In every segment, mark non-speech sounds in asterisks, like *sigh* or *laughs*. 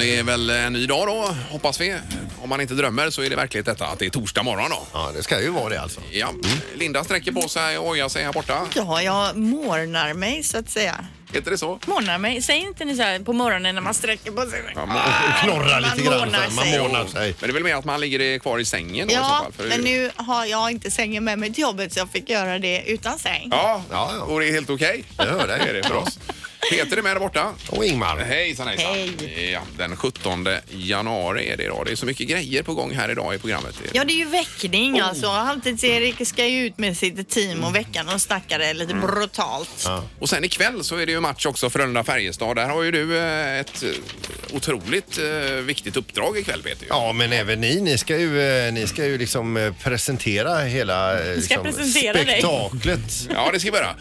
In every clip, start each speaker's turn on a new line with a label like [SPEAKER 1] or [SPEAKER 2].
[SPEAKER 1] det är väl en ny dag då, hoppas vi. Om man inte drömmer så är det verkligen detta att det är torsdag morgon då.
[SPEAKER 2] Ja, det ska ju vara det alltså.
[SPEAKER 1] Ja, Linda sträcker på sig och ojar sig här borta.
[SPEAKER 3] Ja, jag mornar mig så att säga.
[SPEAKER 1] Heter det så?
[SPEAKER 4] Mornar mig. Säg inte ni så här på morgonen när man sträcker på sig.
[SPEAKER 1] Ja,
[SPEAKER 3] Ah.
[SPEAKER 2] Knorra
[SPEAKER 3] Man
[SPEAKER 2] lite grann.
[SPEAKER 3] månar
[SPEAKER 2] så här. Man
[SPEAKER 3] sig.
[SPEAKER 2] månar sig.
[SPEAKER 1] Men det är väl mer att man ligger i- kvar i sängen då i så
[SPEAKER 3] Ja,
[SPEAKER 1] fall? för-
[SPEAKER 3] men nu har jag inte sängen med mig till jobbet så jag fick göra det utan säng.
[SPEAKER 1] Ja,
[SPEAKER 2] Ja, ja.
[SPEAKER 1] och det är helt okej.
[SPEAKER 2] Jag hör dig.
[SPEAKER 1] Det är det för oss. Peter är med där borta.
[SPEAKER 2] Och Ingmar.
[SPEAKER 1] Hejsan hejsan.
[SPEAKER 3] Hej.
[SPEAKER 1] Ja, den 17 januari är det idag. Det är så mycket grejer på gång här idag i programmet.
[SPEAKER 3] Ja, det är ju väckning
[SPEAKER 1] Oh.
[SPEAKER 3] alltså. Halvtids-Erik ska ju ut med sitt team och väcka någon stackare lite
[SPEAKER 1] Mm.
[SPEAKER 3] brutalt.
[SPEAKER 1] Och sen ikväll så är det ju match också Frölunda-Färjestad. Där har ju du eh, ett eh, otroligt eh, viktigt uppdrag ikväll Peter.
[SPEAKER 2] Ja, men även ni, ni ska ju, eh, ni ska ju liksom eh, presentera hela eh, liksom,
[SPEAKER 4] presentera dig.
[SPEAKER 2] spektaklet.
[SPEAKER 1] Ja, det ska vi göra.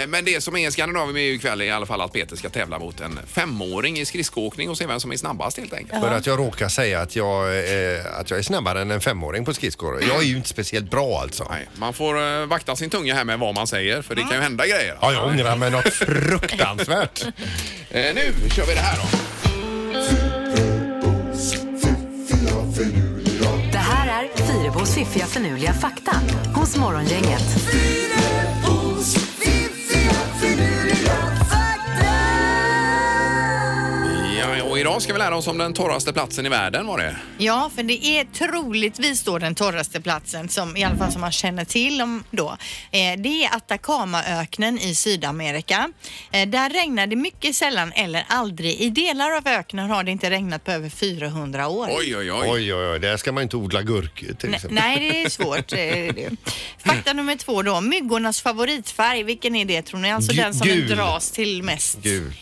[SPEAKER 1] Eh, Men det som är Skandinavien är ju ikväll i alla fall att Peter ska tävla mot en femåring i skridskoåkning och se vem som är snabbast helt enkelt.
[SPEAKER 2] För att jag råkar säga att jag, eh, att jag är snabbare än en femåring på skridskor. Jag är ju inte speciellt bra alltså.
[SPEAKER 1] Nej, man får eh, vakta sin tunga här med vad man säger för det kan ju hända grejer.
[SPEAKER 2] Ja, jag ångrar mig något fruktansvärt.
[SPEAKER 1] Eh, Nu kör vi det här då.
[SPEAKER 5] Det här är Fyrabos fiffiga förnuliga fakta hos Morgongänget.
[SPEAKER 1] Ja, och idag ska vi lära oss om den torraste platsen i världen var det.
[SPEAKER 3] Ja, för det är troligtvis då den torraste platsen som i alla fall som man känner till om då. Eh, det är Atacamaöknen i Sydamerika. Eh, där regnar det mycket sällan eller aldrig. I delar av öknen har det inte regnat på över 400 år.
[SPEAKER 1] Oj, oj, oj.
[SPEAKER 2] Oj, oj, oj. Där ska man inte odla gurkor till
[SPEAKER 3] Ne-
[SPEAKER 2] exempel.
[SPEAKER 3] Nej, det är svårt. Eh, det är det. Fakta nummer två då. Myggornas favoritfärg, vilken är det tror ni? Alltså
[SPEAKER 2] Gu-
[SPEAKER 3] den som
[SPEAKER 2] gul.
[SPEAKER 3] den dras till mest.
[SPEAKER 2] Gud.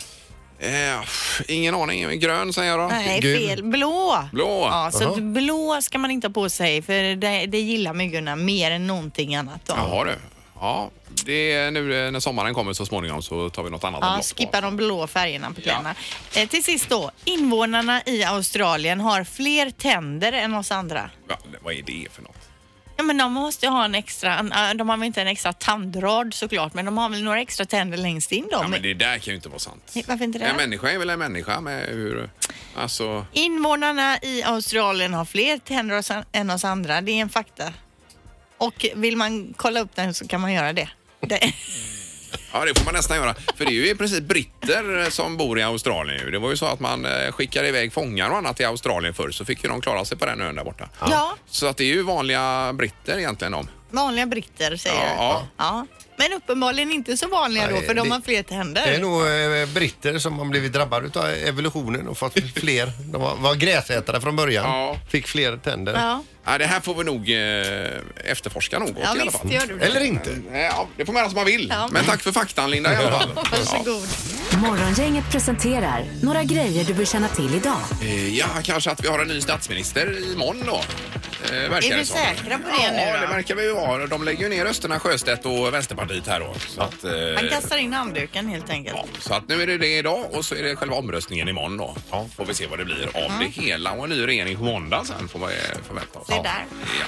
[SPEAKER 1] Eh, pff, ingen aning. Grön säger jag då.
[SPEAKER 3] Nej,
[SPEAKER 2] Gul.
[SPEAKER 3] fel. Blå.
[SPEAKER 1] Blå.
[SPEAKER 3] Ja, så
[SPEAKER 2] Jaha.
[SPEAKER 3] att blå ska man inte ha på sig för det, det gillar myggorna mer än någonting annat. Då.
[SPEAKER 1] Jaha du. Ja, det är nu eh, när sommaren kommer så småningom så tar vi något annat
[SPEAKER 3] Ja,
[SPEAKER 1] block på.
[SPEAKER 3] skippa de blå färgerna på kläderna. Eh, till sist då, invånarna i Australien har fler tänder än oss andra.
[SPEAKER 1] Va, vad är det för något?
[SPEAKER 3] Ja, men de måste ju ha en extra, en, äh, de har väl inte en extra tandrad såklart, men de har väl några extra tänder längst in då.
[SPEAKER 1] Ja,
[SPEAKER 3] men-
[SPEAKER 1] men det där kan ju inte vara sant.
[SPEAKER 3] Nej, varför inte det?
[SPEAKER 1] En människa är väl en människa med hur... Alltså...
[SPEAKER 3] Invånarna i Australien har fler tänder oss- än oss andra. Det är en fakta. Och vill man kolla upp den så kan man göra det. det.
[SPEAKER 1] Ja, det får man nästan göra. För det är ju i princip britter som bor i Australien nu. Det var ju så att man eh, skickade iväg fångar och annat till Australien förr så fick ju de klara sig på den ön där borta.
[SPEAKER 3] Ja,
[SPEAKER 1] Så att det är ju vanliga britter egentligen de.
[SPEAKER 3] vanliga britter säger
[SPEAKER 1] Ja,
[SPEAKER 3] du.
[SPEAKER 1] ja.
[SPEAKER 3] Men uppenbarligen inte så vanliga då
[SPEAKER 2] Nej,
[SPEAKER 3] för de
[SPEAKER 2] det-
[SPEAKER 3] har fler tänder.
[SPEAKER 2] Det är nog eh, britter som har blivit drabbade av evolutionen och *laughs* fått fler. De var, var gräsätare från början.
[SPEAKER 1] Ja.
[SPEAKER 2] Fick fler tänder.
[SPEAKER 3] Ja,
[SPEAKER 1] Ja, det här får vi nog eh, efterforska något
[SPEAKER 3] ja
[SPEAKER 1] i alla
[SPEAKER 3] visst
[SPEAKER 1] fall.
[SPEAKER 3] gör du det.
[SPEAKER 2] Eller inte.
[SPEAKER 1] Eh, Ja, det får man göra som man vill.
[SPEAKER 3] Ja.
[SPEAKER 1] Men tack för faktan Linda i alla fall.
[SPEAKER 3] *laughs* Varsågod.
[SPEAKER 5] Morgongänget presenterar några grejer du bör känna till idag.
[SPEAKER 1] Eh, Ja, kanske att vi har en ny statsminister imorgon då. Eh, verkar
[SPEAKER 3] Är
[SPEAKER 1] det
[SPEAKER 3] vi
[SPEAKER 1] som.
[SPEAKER 3] säkra på det
[SPEAKER 1] Ja,
[SPEAKER 3] nu
[SPEAKER 1] det
[SPEAKER 3] då?
[SPEAKER 1] verkar vi ju vara. De lägger ju ner rösterna Sjöstedt och Vänsterpartiet här då. Så att, eh,
[SPEAKER 3] Han kastar in handduken helt enkelt.
[SPEAKER 1] Ja, så att nu är det det idag och så är det själva omröstningen imorgon då. Ja, får vi se vad det blir av det hela och en ny regering på måndag sen får vi eh, förvänta oss.
[SPEAKER 3] Det där.
[SPEAKER 1] Ja.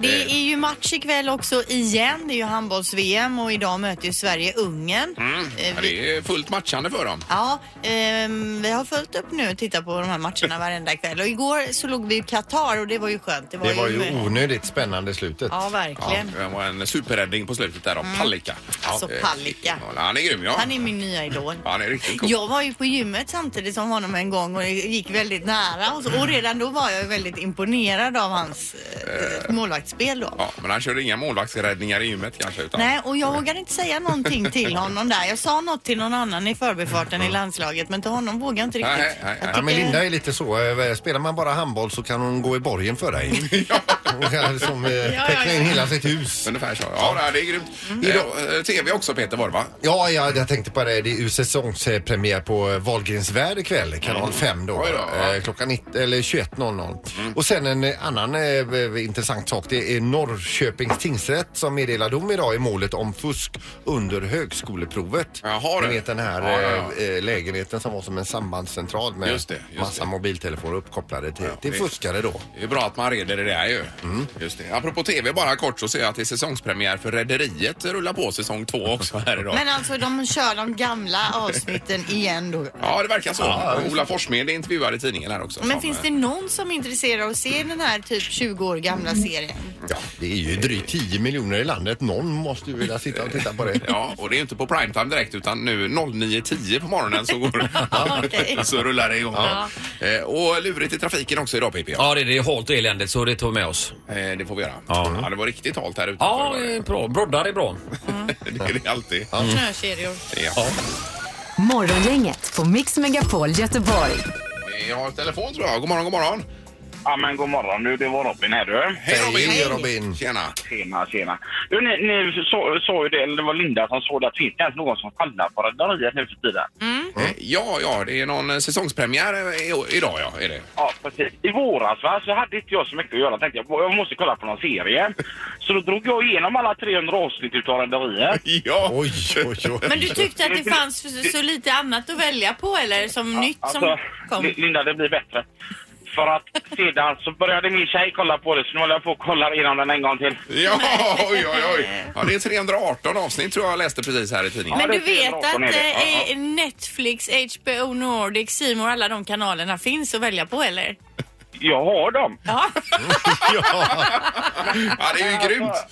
[SPEAKER 3] Det är ju match ikväll också igen. Det är ju handbolls-VM och idag möter ju Sverige Ungern. Eh,
[SPEAKER 1] Mm. Ja,
[SPEAKER 3] vi-
[SPEAKER 1] det är fullt matchande för dem.
[SPEAKER 3] Ja, ehm, vi har följt upp nu och tittat på de
[SPEAKER 1] *laughs*
[SPEAKER 3] här matcherna varenda kväll. Och igår så låg vi ju Qatar och det var ju skönt. Det var,
[SPEAKER 2] Det var ju onödigt spännande slutet.
[SPEAKER 3] Ja,
[SPEAKER 1] Ja,
[SPEAKER 3] verkligen.
[SPEAKER 1] det var en superräddning på slutet där av Palicka. Ja,
[SPEAKER 3] Alltså,
[SPEAKER 1] eh,
[SPEAKER 3] Palicka.
[SPEAKER 1] ja, Han är grym ja.
[SPEAKER 3] Han är min nya idol.
[SPEAKER 1] Ja, han är riktigt cool.
[SPEAKER 3] Jag var ju på gymmet samtidigt som honom en gång och det gick väldigt nära. Och, så, och redan då var jag ju väldigt imponerad av hans eh, målvaktsspel då.
[SPEAKER 1] Ja, men han körde inga målvaktsräddningar i gymmet kanske. Utan...
[SPEAKER 3] Nej, och jag vågade inte säga någonting till honom där. Jag sa något till någon annan i förbifarten i landslaget, men till honom vågade jag inte riktigt.
[SPEAKER 1] Nej, nej,
[SPEAKER 3] Jag
[SPEAKER 1] nej.
[SPEAKER 2] Ja, men
[SPEAKER 3] tycker-
[SPEAKER 2] Linda är lite så. eh, Spelar man bara handboll så kan hon gå i borgen för
[SPEAKER 3] *laughs*
[SPEAKER 2] dig. Hon kan liksom eh,
[SPEAKER 3] ja,
[SPEAKER 2] täcka in
[SPEAKER 3] ja.
[SPEAKER 2] hela sitt hus.
[SPEAKER 1] Ungefär så. Ja, det är grymt. Eh, eh, TV också Peter var det va?
[SPEAKER 2] Ja, ja, jag tänkte på det. Det är ju säsongspremiär på eh, Wahlgrens värld ikväll, kanal 5 då.
[SPEAKER 1] Mm. Oj då, Mm. ja.
[SPEAKER 2] Eh, Klockan 19 eller 21.00. Och sen en eh, annan eh, eh, intressant sak. Det är Norrköpings tingsrätt som meddelar dom idag i målet om fusk under högskoleprovet.
[SPEAKER 1] Jaha,
[SPEAKER 2] Ni
[SPEAKER 1] du.
[SPEAKER 2] vet den här
[SPEAKER 1] Ja, ja, ja.
[SPEAKER 2] eh, eh, lägenheten som var som en sambandscentral med
[SPEAKER 1] Just det, just
[SPEAKER 2] massa
[SPEAKER 1] det.
[SPEAKER 2] mobiltelefoner uppkopplade till, till
[SPEAKER 1] det-
[SPEAKER 2] fuskare då.
[SPEAKER 1] Det är bra att man reder det där ju. Just det. Apropå tv, bara kort så ser jag att det är säsongspremiär för Rederiet rullar på säsong två också här idag.
[SPEAKER 3] Men alltså de kör de gamla avsnitten igen då.
[SPEAKER 1] Ja, det verkar så. Ola Forssmed är intervjuad i tidningen här också.
[SPEAKER 3] Men
[SPEAKER 1] som,
[SPEAKER 3] finns
[SPEAKER 1] eh,
[SPEAKER 3] det någon som är intresserad av att se den här typ 20 år gamla serien?
[SPEAKER 2] Ja, det är ju drygt 10 miljoner i landet. Någon måste ju vilja sitta och titta på det.
[SPEAKER 1] Ja, och det är ju inte på primetime direkt utan nu 09.10 på morgonen så, går,
[SPEAKER 3] okej.
[SPEAKER 1] *laughs* så rullar det igång. Eh, och lurigt i trafiken också idag PP.
[SPEAKER 6] Ja, det är, det är halt och eländigt så det tar med oss.
[SPEAKER 1] Eh, det får vi göra.
[SPEAKER 6] Ja.
[SPEAKER 1] det var riktigt halt här utanför.
[SPEAKER 6] Ja,
[SPEAKER 1] Det var
[SPEAKER 6] eh, bra. Broddar är bra.
[SPEAKER 1] *laughs* det. det är det alltid.
[SPEAKER 2] Mm.
[SPEAKER 4] Snökedjor.
[SPEAKER 1] Ja.
[SPEAKER 5] Morgongänget på Mix Megapol Göteborg.
[SPEAKER 1] Jag har telefon tror jag. God morgon, god morgon.
[SPEAKER 7] Ja men god morgon du, det var Robin här du.
[SPEAKER 1] Hej Robin!
[SPEAKER 2] Hej Robin!
[SPEAKER 1] Tjena!
[SPEAKER 7] Tjena, tjena. Du, ni, ni sa- sa ju det, eller det var Linda som sa det, att det finns inte någon som fallar på Rederiet nu för tiden.
[SPEAKER 1] Eh, Ja, ja, det är någon eh, säsongspremiär eh, i- idag ja, är det.
[SPEAKER 7] Ja, precis. I våras va, så hade inte jag så mycket att göra. Tänkte jag, jag måste kolla på någon serie. Så då drog jag igenom alla 300 avsnitt utav Rederiet.
[SPEAKER 1] Ja!
[SPEAKER 2] Oj, oj, oj.
[SPEAKER 4] Men du tyckte att det fanns så- så lite annat att välja på eller som nytt som kom?
[SPEAKER 7] Alltså, Li- Linda, det blir bättre. För att sedan så började min tjej kolla på det, så nu håller jag på och kollar igenom den en gång till.
[SPEAKER 1] Ja, oj, oj, oj. Ja, det är 318 avsnitt tror jag jag läste precis här i tidningen.
[SPEAKER 4] Men
[SPEAKER 7] det
[SPEAKER 4] du
[SPEAKER 7] är
[SPEAKER 4] vet
[SPEAKER 7] bra,
[SPEAKER 4] att
[SPEAKER 7] Cornelia. Ja,
[SPEAKER 4] eh, Netflix, HBO Nordic, C More, alla de kanalerna finns att välja på eller?
[SPEAKER 7] Jag har dem!
[SPEAKER 2] *laughs*
[SPEAKER 4] Ja.
[SPEAKER 1] Ja, det är ju grymt!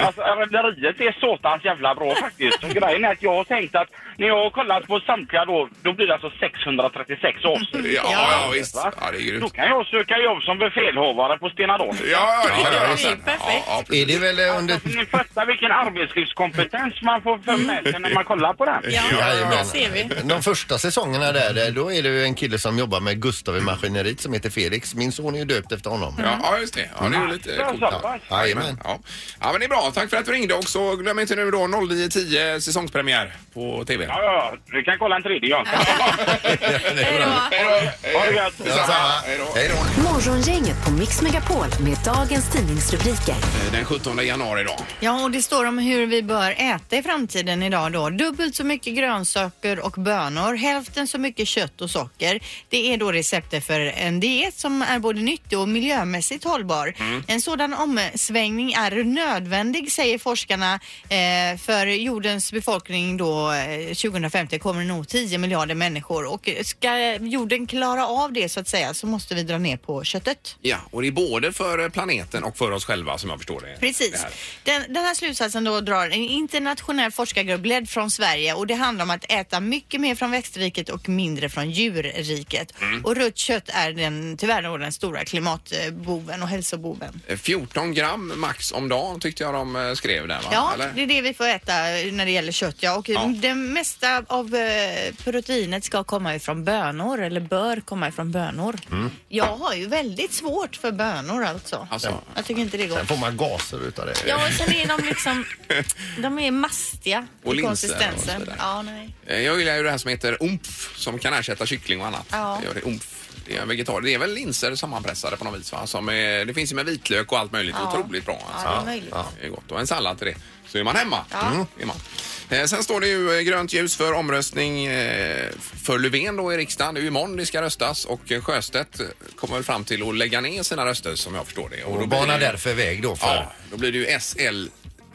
[SPEAKER 7] Alltså, Rederiet är satans jävla bra faktiskt. Och Grejen är att jag har tänkt att när jag har kollat på samtliga då, då blir det alltså 636 avsnitt.
[SPEAKER 1] Ja, ja, visst.
[SPEAKER 7] Va?
[SPEAKER 1] Ja, det är
[SPEAKER 7] Då
[SPEAKER 1] grymt.
[SPEAKER 7] kan jag söka jobb som befälhavare på Stena Don.
[SPEAKER 1] Ja, ja, det kan
[SPEAKER 4] Ja,
[SPEAKER 1] jag
[SPEAKER 4] det
[SPEAKER 1] göra
[SPEAKER 4] är
[SPEAKER 1] sen.
[SPEAKER 4] perfekt.
[SPEAKER 1] Ja, ja,
[SPEAKER 2] Är det väl eh, under...
[SPEAKER 7] Alltså, Ni fattar vilken arbetslivskompetens man får för med sig när man kollar på den.
[SPEAKER 4] Ja,
[SPEAKER 2] Jajamän.
[SPEAKER 4] där ser vi.
[SPEAKER 2] De första säsongerna där, där, då är det ju en kille som jobbar med Gustav i maskineriet som heter Felix. Min son är ju döpt efter honom.
[SPEAKER 1] Ja, ja, just det. Ja, det är ju lite
[SPEAKER 7] Ja,
[SPEAKER 1] coolt.
[SPEAKER 7] så pass.
[SPEAKER 2] Jajamän.
[SPEAKER 1] Ja. ja, men det är bra. Tack för att du ringde också. Glöm inte nu då 09.10 säsongspremiär på TV.
[SPEAKER 7] Ja, ja, du kan kolla en tredje gång.
[SPEAKER 4] Hej då.
[SPEAKER 1] Hej då!
[SPEAKER 7] Ha det gött.
[SPEAKER 1] Detsamma. Hej då.
[SPEAKER 2] Hej då!
[SPEAKER 5] Morgongänget på Mix Megapol med dagens tidningsrubriker.
[SPEAKER 1] Eh, Den 17 januari idag.
[SPEAKER 3] Ja, och det står om hur vi bör äta i framtiden idag då. Dubbelt så mycket grönsaker och bönor, hälften så mycket kött och socker. Det är då receptet för en diet som är både nyttig och miljömässigt hållbar. En sådan omsvängning är nödvändig säger forskarna eh, för jordens befolkning då eh, 2050 kommer nog 10 miljarder människor och ska jorden klara av det så att säga så måste vi dra ner på köttet.
[SPEAKER 1] Ja, och det är både för eh, planeten och för oss själva som jag förstår det. Det
[SPEAKER 3] Precis.
[SPEAKER 1] här.
[SPEAKER 3] Den, den här slutsatsen då drar en internationell forskargrupp ledd från Sverige och det handlar om att äta mycket mer från växtriket och mindre från djurriket.
[SPEAKER 1] Mm.
[SPEAKER 3] Och rött kött är den, tyvärr då den stora klimatboven och hälsoboven.
[SPEAKER 1] Eh, 14 gram max om dagen tyckte jag de eh, skrev där va?
[SPEAKER 3] Ja,
[SPEAKER 1] Eller?
[SPEAKER 3] det är det vi får äta när det gäller kött ja. Och
[SPEAKER 1] Ja.
[SPEAKER 3] det mesta av eh, proteinet ska komma ifrån bönor eller bör komma ifrån bönor.
[SPEAKER 1] Mm.
[SPEAKER 3] Jag har ju väldigt svårt för bönor alltså.
[SPEAKER 1] Alltså.
[SPEAKER 3] Jag tycker inte det går.
[SPEAKER 2] Sen får man gaser utav det.
[SPEAKER 4] Ja, och sen är de
[SPEAKER 1] *laughs*
[SPEAKER 4] liksom, de är mastiga
[SPEAKER 1] Och
[SPEAKER 3] i
[SPEAKER 1] linser och så
[SPEAKER 3] konsistensen.
[SPEAKER 1] vidare.
[SPEAKER 3] ja, nej.
[SPEAKER 1] Eh, Jag gillar ju det här som heter omf som kan ersätta kyckling och annat.
[SPEAKER 3] Ja.
[SPEAKER 1] Det gör det omf. Det är en vegetar. Det är väl linser sammanpressade på något vis va? Som är, det finns ju med vitlök och allt möjligt.
[SPEAKER 3] Ja.
[SPEAKER 1] Otroligt bra alltså.
[SPEAKER 3] Ja, det är möjligt.
[SPEAKER 1] Det är gott. Och en sallad till det. Så är man hemma.
[SPEAKER 3] Ja.
[SPEAKER 1] Mm. Är man. Eh, Sen står det ju eh, grönt ljus för omröstning eh, för Löfven då i riksdagen. Det är ju imorgon det ska röstas och eh, Sjöstedt eh, kommer väl fram till att lägga ner sina röster som jag förstår det.
[SPEAKER 2] Och
[SPEAKER 1] blir det
[SPEAKER 2] banar
[SPEAKER 1] ju-
[SPEAKER 2] därför väg då för...
[SPEAKER 1] Ja, då blir det ju SL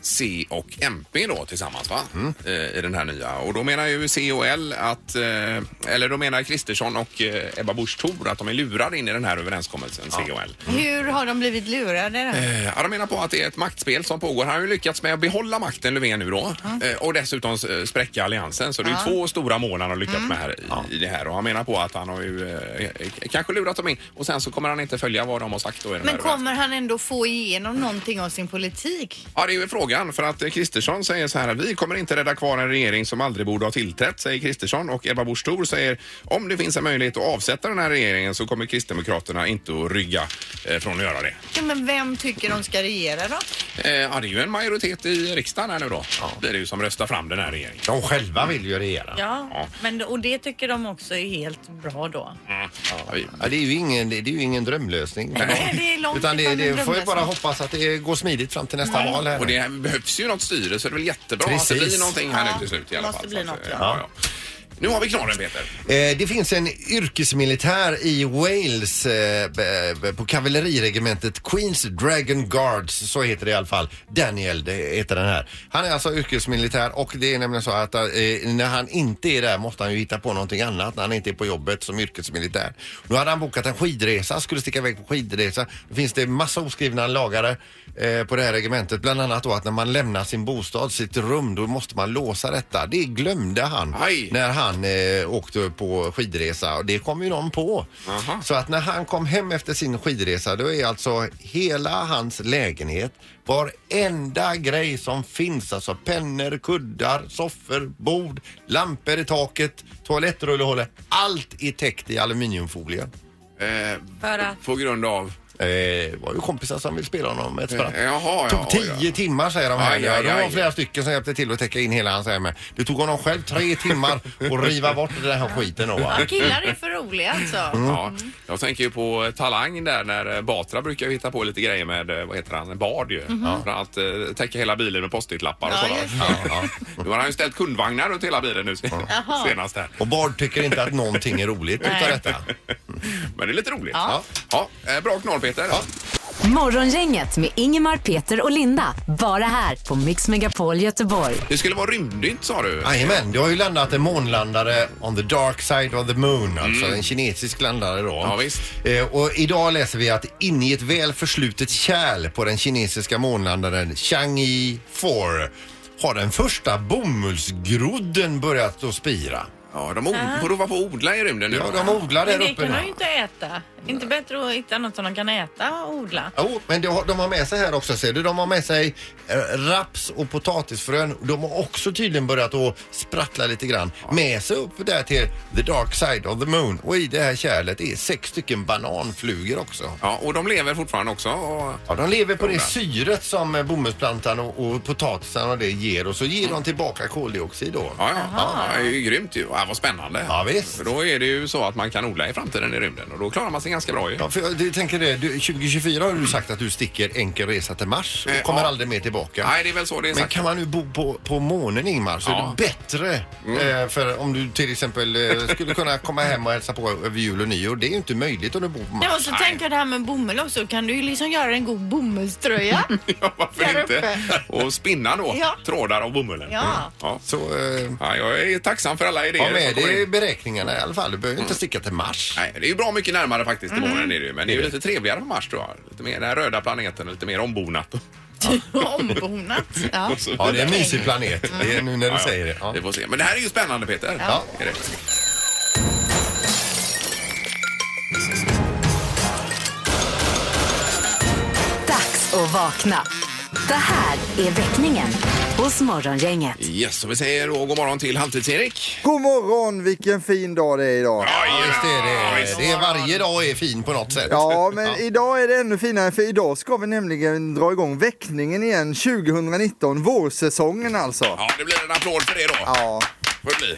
[SPEAKER 1] C och MP då tillsammans va?
[SPEAKER 3] Mm.
[SPEAKER 1] Eh, I den här nya. Och då menar ju C och L att, eh, eller då menar Kristersson och eh, Ebba Busch Thor att de är lurade in i den här överenskommelsen C och L.
[SPEAKER 3] Hur har de blivit lurade? då?
[SPEAKER 1] Eh, Ja, de menar på att det är ett maktspel som pågår. Han har ju lyckats med att behålla makten Löfven nu då eh, och dessutom eh, spräcka alliansen. Så det är ju två stora mål han har lyckats
[SPEAKER 3] Mm.
[SPEAKER 1] med här i, i det här och han menar på att han har ju eh, kanske lurat dem in och sen så kommer han inte följa vad de har sagt då i den här
[SPEAKER 3] Men kommer han ändå få igenom någonting av sin politik?
[SPEAKER 1] Ja, det är ju frågan. För att eh, Kristersson säger så här. Vi kommer inte rädda kvar en regering som aldrig borde ha tillträtt, säger Kristersson. Och Ebba Busch Thor säger om det finns en möjlighet att avsätta den här regeringen så kommer Kristdemokraterna inte att rygga eh, från att göra det.
[SPEAKER 3] Ja, men vem tycker de ska regera då?
[SPEAKER 1] Eh, ja, det är ju en majoritet i riksdagen här nu då. Det är det ju som röstar fram den här regeringen.
[SPEAKER 2] De själva vill ju regera. Ja.
[SPEAKER 4] Ja, men, och det tycker de också är helt bra då.
[SPEAKER 1] Mm. Ja, vi-
[SPEAKER 2] det, är ju ingen, det är ju ingen drömlösning.
[SPEAKER 3] Nej, det är långt
[SPEAKER 2] Utan det,
[SPEAKER 3] ifrån
[SPEAKER 2] det
[SPEAKER 3] en
[SPEAKER 2] får vi bara
[SPEAKER 3] drömlösning.
[SPEAKER 2] hoppas att det går smidigt fram till nästa val. Här.
[SPEAKER 1] Och det här behövs ju något styre så det är väl jättebra att det
[SPEAKER 2] Precis.
[SPEAKER 1] blir någonting här
[SPEAKER 4] Ja,
[SPEAKER 1] nu till slut i alla
[SPEAKER 4] måste
[SPEAKER 1] fall.
[SPEAKER 4] bli
[SPEAKER 1] Så att,
[SPEAKER 4] något,
[SPEAKER 1] eh,
[SPEAKER 4] ja.
[SPEAKER 1] ja, Nu har vi knorren Peter.
[SPEAKER 2] Eh, Det finns en yrkesmilitär i Wales eh, b- b- på kavalleriregementet Queens Dragon Guards, så heter det i alla fall. Daniel det heter den här. Han är alltså yrkesmilitär och det är nämligen så att eh, när han inte är där måste han ju hitta på någonting annat när han inte är på jobbet som yrkesmilitär. Nu hade han bokat en skidresa, skulle sticka iväg på skidresa. Då finns det massa oskrivna lagare eh, på det här regementet, bland annat då att när man lämnar sin bostad, sitt rum, då måste man låsa detta. Det glömde han
[SPEAKER 1] Aj.
[SPEAKER 2] när han eh, åkte på skidresa och det kom ju någon på.
[SPEAKER 1] Aha.
[SPEAKER 2] Så att när han kom hem efter sin skidresa då är alltså hela hans lägenhet varenda grej som finns, alltså pennor, kuddar, soffor, bord, lampor i taket, toalettrullehållare, allt är täckt i aluminiumfolie.
[SPEAKER 1] Eh,
[SPEAKER 4] För att...
[SPEAKER 1] på grund av...
[SPEAKER 2] Eh, det var ju kompisar som ville spela honom ett spratt.
[SPEAKER 1] Eh, jaha, ja,
[SPEAKER 2] tog tio
[SPEAKER 1] ja.
[SPEAKER 2] timmar säger de här.
[SPEAKER 1] Aj,
[SPEAKER 2] ja,
[SPEAKER 1] aj,
[SPEAKER 2] det var
[SPEAKER 1] aj.
[SPEAKER 2] flera stycken som hjälpte till att täcka in hela hans hem. Det tog honom själv tre timmar att riva bort den här skiten då va?
[SPEAKER 4] Ja, killar är för roliga alltså.
[SPEAKER 2] Mm.
[SPEAKER 1] Ja, jag tänker ju på eh, Talang där när eh, Batra brukar ju hitta på lite grejer med, eh, vad heter han, Bard ju.
[SPEAKER 2] Mm-hmm.
[SPEAKER 1] För att eh, täcka hela bilen med post-it-lappar och
[SPEAKER 4] Ja,
[SPEAKER 1] sådär.
[SPEAKER 4] just
[SPEAKER 1] Ja, ja. Nu har han ju ställt kundvagnar runt hela bilen nu se- senast här.
[SPEAKER 2] Och Bard tycker inte att någonting är roligt utav
[SPEAKER 4] Nej.
[SPEAKER 2] detta.
[SPEAKER 1] Men det är lite roligt.
[SPEAKER 2] Ja.
[SPEAKER 1] Ja, eh, bra knorr Peter.
[SPEAKER 5] Morgongänget med Ingemar, Peter och Linda. Bara här på Mix Megapol Göteborg.
[SPEAKER 1] Det skulle vara rymddynt sa du.
[SPEAKER 2] Jajamän, det har ju landat en månlandare on the dark side of the moon, alltså
[SPEAKER 4] Mm.
[SPEAKER 2] en kinesisk landare då.
[SPEAKER 1] Ja, visst.
[SPEAKER 2] Eh, och idag läser vi att in i ett väl förslutet kärl på den kinesiska månlandaren Chang'e 4 har den första bomullsgrodden börjat att spira.
[SPEAKER 1] Ja, de od- får prova på att odla i rymden nu.
[SPEAKER 2] Ja, de odlar där
[SPEAKER 4] Men det
[SPEAKER 2] uppe
[SPEAKER 4] kan
[SPEAKER 2] nu.
[SPEAKER 4] de ju inte äta. Inte bättre att hitta något som de kan äta och odla.
[SPEAKER 2] Jo, men de har, de har med sig här också ser du. De har med sig eh, raps och potatisfrön. De har också tydligen börjat att sprattla lite grann. Med sig upp där till the dark side of the moon. Och i det här kärlet är sex stycken bananflugor också.
[SPEAKER 1] Ja, och de lever fortfarande också. Och...
[SPEAKER 2] Ja, de lever på det
[SPEAKER 1] Goda.
[SPEAKER 2] syret som eh, bomullsplantan och, och potatisen och det ger och så ger de tillbaka koldioxid då.
[SPEAKER 1] Ja, ja. ja, det är ju grymt ju. Ja, vad spännande.
[SPEAKER 2] Ja, visst.
[SPEAKER 1] För då är det ju så att man kan odla i framtiden i rymden och då klarar man sig ganska bra ju.
[SPEAKER 2] Ja, för jag, jag tänker det, du, 2024 har du sagt att du sticker enkel resa till Mars och
[SPEAKER 1] Eh,
[SPEAKER 2] kommer
[SPEAKER 1] ja.
[SPEAKER 2] aldrig mer tillbaka.
[SPEAKER 1] Nej, det är väl så det är
[SPEAKER 2] Men
[SPEAKER 1] sagt.
[SPEAKER 2] kan man nu bo på, på månen Ingmar så
[SPEAKER 1] Ja. Mm.
[SPEAKER 2] är det bättre. Eh, för om du till exempel eh, skulle kunna komma hem och hälsa på över jul och nyår. Det är ju inte möjligt om du bor på
[SPEAKER 4] Nej,
[SPEAKER 2] Mars.
[SPEAKER 4] och så tänker jag det här med bomull också. Kan du ju liksom göra en god bomullströja?
[SPEAKER 1] Ja, varför
[SPEAKER 4] Där
[SPEAKER 1] inte? *laughs* Och spinna då
[SPEAKER 4] Ja.
[SPEAKER 1] trådar av bomullen.
[SPEAKER 4] Ja.
[SPEAKER 1] Mm. *laughs* Ja.
[SPEAKER 2] Så eh,
[SPEAKER 1] Ja, jag är tacksam för alla idéer.
[SPEAKER 2] ha
[SPEAKER 1] som kommer
[SPEAKER 2] med dig i
[SPEAKER 1] in. Mm.
[SPEAKER 2] beräkningarna i alla fall. Du behöver inte sticka till Mars.
[SPEAKER 1] Nej, det är ju bra mycket närmare faktiskt till månen är det ju. Men det är ju lite trevligare på Mars tror jag. Lite mer den här röda planeten, lite mer ombonat.
[SPEAKER 4] Ombonat. Ja.
[SPEAKER 1] Och så
[SPEAKER 2] Ja, det är en
[SPEAKER 1] vidare.
[SPEAKER 2] mysig planet. Det är nu när du
[SPEAKER 1] Ja, ja.
[SPEAKER 2] säger *laughs* det. Ja.
[SPEAKER 1] Vi får se. Men det här är ju spännande Peter.
[SPEAKER 2] Ja.
[SPEAKER 1] Är det.
[SPEAKER 5] Dags att vakna. Det här är väckningen hos Morgongänget.
[SPEAKER 1] Yes, och vi säger då god morgon till Halvtids-Erik.
[SPEAKER 8] God morgon, vilken fin dag det är idag.
[SPEAKER 2] Ja, just det. Det, är- det är varje dag är fin på något sätt.
[SPEAKER 9] *laughs*
[SPEAKER 8] Ja, men idag är det ännu finare för idag ska vi nämligen dra igång väckningen igen 2019, vårsäsongen alltså.
[SPEAKER 1] Ja, det blir en applåd för det då.
[SPEAKER 8] Ja,
[SPEAKER 1] Får det bli.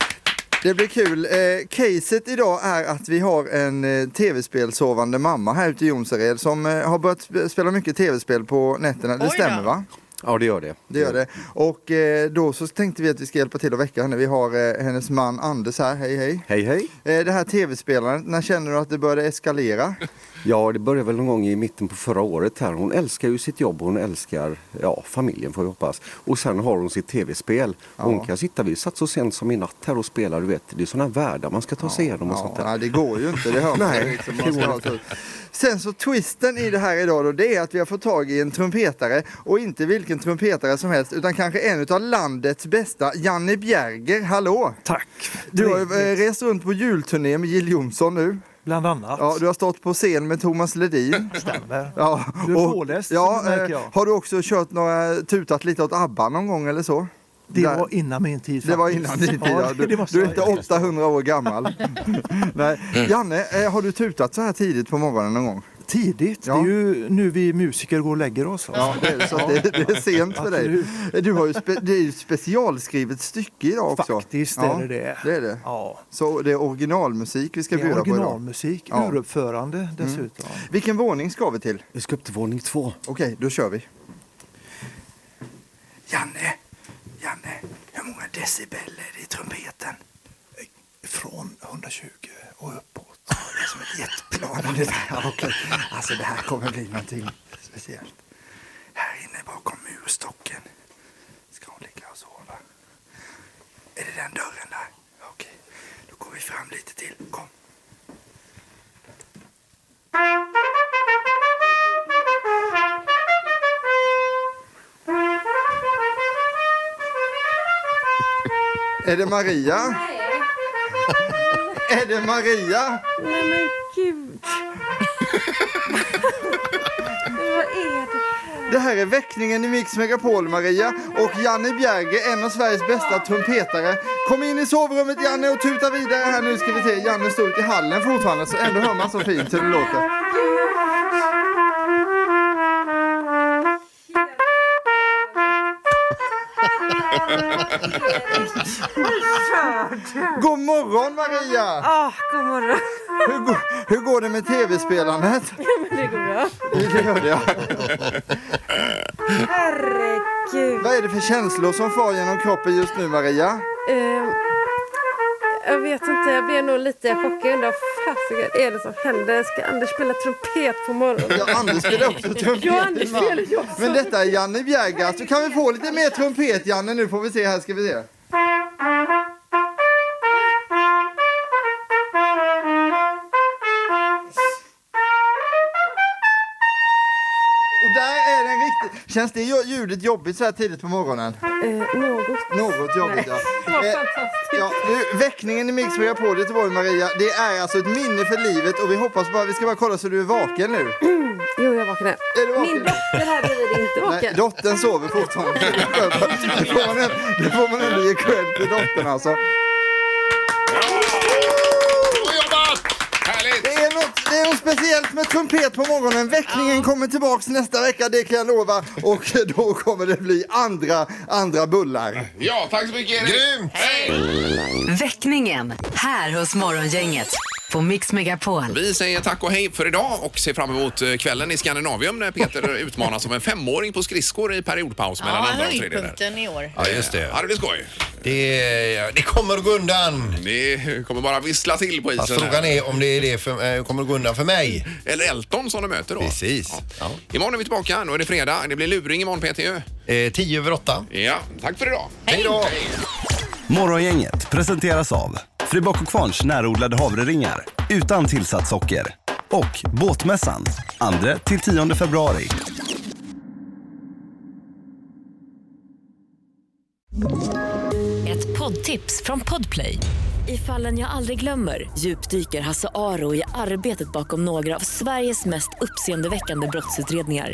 [SPEAKER 8] det blir kul. Eh, caset idag är att vi har en eh, tv-spelsovande mamma här ute i Jonsered som eh, har börjat sp- spela mycket tv-spel på nätterna. Det
[SPEAKER 4] Oj då.
[SPEAKER 8] stämmer va?
[SPEAKER 9] Ja, det gör det.
[SPEAKER 8] Det gör det. Och eh, då så tänkte vi att vi ska hjälpa till att väcka henne. Vi har eh, hennes man Anders här, hej hej.
[SPEAKER 9] Hej, hej.
[SPEAKER 8] Eh, det här tv-spelandet, när känner du att det började eskalera?
[SPEAKER 9] Ja, det började väl någon gång i mitten på förra året här. Hon älskar ju sitt jobb och hon älskar ja, familjen får vi hoppas. Och sen har hon sitt tv-spel. Och Hon kan sitta, vi satt så sent som i natt här och spelade, du vet. Det är sådana världar man ska ta sig igenom och sånt
[SPEAKER 8] Ja,
[SPEAKER 9] där.
[SPEAKER 8] nej, det går ju inte. Det hör man
[SPEAKER 9] Nej,
[SPEAKER 8] ju liksom.
[SPEAKER 9] det
[SPEAKER 8] man
[SPEAKER 9] går
[SPEAKER 8] ska ha tur. Sen så twisten i det här idag då, det är att vi har fått tag i en trumpetare och inte vilken trumpetare som helst utan kanske en av landets bästa, Janne Bjerger. Hallå!
[SPEAKER 10] Tack!
[SPEAKER 8] Du har ju, eh, rest runt på julturné med Jill Johnson nu.
[SPEAKER 10] Bland annat.
[SPEAKER 8] Ja, du har stått på scen med Thomas Ledin.
[SPEAKER 10] Stämmer.
[SPEAKER 8] Ja,
[SPEAKER 10] Du är
[SPEAKER 8] och-
[SPEAKER 10] påläst,
[SPEAKER 8] ja,
[SPEAKER 10] märker
[SPEAKER 8] eh,
[SPEAKER 10] jag.
[SPEAKER 8] Har du också kört några, tutat lite åt ABBA någon gång eller så?
[SPEAKER 10] Det
[SPEAKER 8] Där-
[SPEAKER 10] var innan min tid.
[SPEAKER 8] Det var
[SPEAKER 10] faktiskt.
[SPEAKER 8] innan din tid. Ja,
[SPEAKER 10] Ja,
[SPEAKER 8] du,
[SPEAKER 10] det måste
[SPEAKER 8] du är
[SPEAKER 10] jag
[SPEAKER 8] inte
[SPEAKER 10] säga.
[SPEAKER 8] 800
[SPEAKER 10] *laughs*
[SPEAKER 8] år gammal. Nej. Janne, eh, har du tutat så här tidigt på morgonen någon gång?
[SPEAKER 10] Tidigt.
[SPEAKER 8] Ja.
[SPEAKER 10] Det är ju nu vi musiker går och lägger oss.
[SPEAKER 8] Ja,
[SPEAKER 10] alltså.
[SPEAKER 8] det är, så att det, det är sent för dig. Du har ju spe, det är ju specialskrivet stycke idag också.
[SPEAKER 10] Faktiskt
[SPEAKER 8] Ja,
[SPEAKER 10] är det det.
[SPEAKER 8] det är det.
[SPEAKER 10] Ja.
[SPEAKER 8] Så det är originalmusik vi ska
[SPEAKER 10] Det är
[SPEAKER 8] bjuda på idag.
[SPEAKER 10] originalmusik,
[SPEAKER 8] Ja. Mm.
[SPEAKER 10] uruppförande dessutom.
[SPEAKER 8] Vilken våning ska vi till?
[SPEAKER 9] Vi ska upp till våning två.
[SPEAKER 8] Okej, då kör vi.
[SPEAKER 10] Janne, Janne, hur många decibel är det i trumpeten? från 120 och uppåt. Det är som ett jetplan *laughs* ungefär. Och, Alltså det här kommer bli någonting speciellt. Här inne bakom murstocken ska hon ligga och sova. Är det den dörren där? Okej, då går vi fram lite till. Kom.
[SPEAKER 8] Är det Maria? Är det Maria?
[SPEAKER 11] Nej men gud. Vad är det?
[SPEAKER 8] Det här är väckningen i Mix Megapol, Maria. Och Janne Bjerge, en av Sveriges bästa trumpetare. Kom in i sovrummet, Janne, och tuta vidare här nu. ska vi se. Janne står ute i hallen fortfarande, så ändå hör man så fint hur det låter. God morgon, Maria!
[SPEAKER 11] Ah, god morgon.
[SPEAKER 8] Hur, go- hur går det
[SPEAKER 11] *laughs*
[SPEAKER 8] med tv-spelandet?
[SPEAKER 11] Men det går bra.
[SPEAKER 8] Det gör det, ja.
[SPEAKER 11] Herregud.
[SPEAKER 8] Vad är det för känslor som far genom kroppen just nu, Maria?
[SPEAKER 11] Ehm, jag vet inte, jag blev nog lite chockad. Undrar vad fasiken är det som händer? Ska Anders spela trumpet på morgonen?
[SPEAKER 8] Ja, Anders spelar också trumpet.
[SPEAKER 11] Ja, Anders spelar ju också.
[SPEAKER 8] Men detta är Janne Bjergas. Du kan vi få lite mer trumpet, Janne? Nu får vi se här, ska vi se. Och där är den riktigt... Känns det ju- ljudet jobbigt så här tidigt på morgonen?
[SPEAKER 11] Eh, något.
[SPEAKER 8] Något jobbigt, ja.
[SPEAKER 11] Vad
[SPEAKER 8] Eh,
[SPEAKER 11] fantastiskt.
[SPEAKER 8] Ja, nu, väckningen i Mix Megapol i Göteborg, Maria, det är alltså ett minne för livet och vi hoppas bara, vi ska bara kolla så du är vaken nu.
[SPEAKER 11] Jo, jag vaknade.
[SPEAKER 8] Är du vaken?
[SPEAKER 11] Min dotter här blir inte
[SPEAKER 8] Nej,
[SPEAKER 11] vaken.
[SPEAKER 8] dottern
[SPEAKER 11] *laughs*
[SPEAKER 8] sover fortfarande. Det får man, det får man ändå ge cred till dottern alltså.
[SPEAKER 1] Bra jobbat! Härligt!
[SPEAKER 8] Det är, något, det är något speciellt med trumpet på morgonen. Väckningen kommer tillbaks nästa vecka, det kan jag lova. Och då kommer det bli andra, andra bullar.
[SPEAKER 1] Ja, tack så mycket Erik!
[SPEAKER 2] Grymt!
[SPEAKER 5] Väckningen här hos Morgongänget på Mix Megapol.
[SPEAKER 1] Vi säger tack och hej för idag och ser fram emot eh, kvällen i Skandinavium när Peter utmanas som en femåring på skridskor i periodpaus mellan
[SPEAKER 3] Ja,
[SPEAKER 1] andra och tredje. där.
[SPEAKER 3] höjdpunkten i år.
[SPEAKER 2] Ja, just det.
[SPEAKER 1] Ja, det blir skoj.
[SPEAKER 2] Det, det kommer att gå undan.
[SPEAKER 1] Det kommer bara vissla till på
[SPEAKER 2] Fast
[SPEAKER 1] isen.
[SPEAKER 2] frågan
[SPEAKER 1] här.
[SPEAKER 2] är om det är det för, eh, kommer att gå undan för mig.
[SPEAKER 1] Eller Elton som de möter då.
[SPEAKER 2] Precis. Ja.
[SPEAKER 1] Imorgon är vi tillbaka. Nu är det fredag. Det blir luring imorgon Peter ju.
[SPEAKER 2] Eh, tio över åtta.
[SPEAKER 1] Ja, tack för idag.
[SPEAKER 2] Hej då!
[SPEAKER 12] Morgongänget presenteras av Fribock och Kvarns närodlade havreringar utan tillsatt socker och Båtmässan 2-10 februari.
[SPEAKER 13] Ett poddtips från Podplay. I fallen jag aldrig glömmer djupdyker Hasse Aro i arbetet bakom några av Sveriges mest uppseendeväckande brottsutredningar.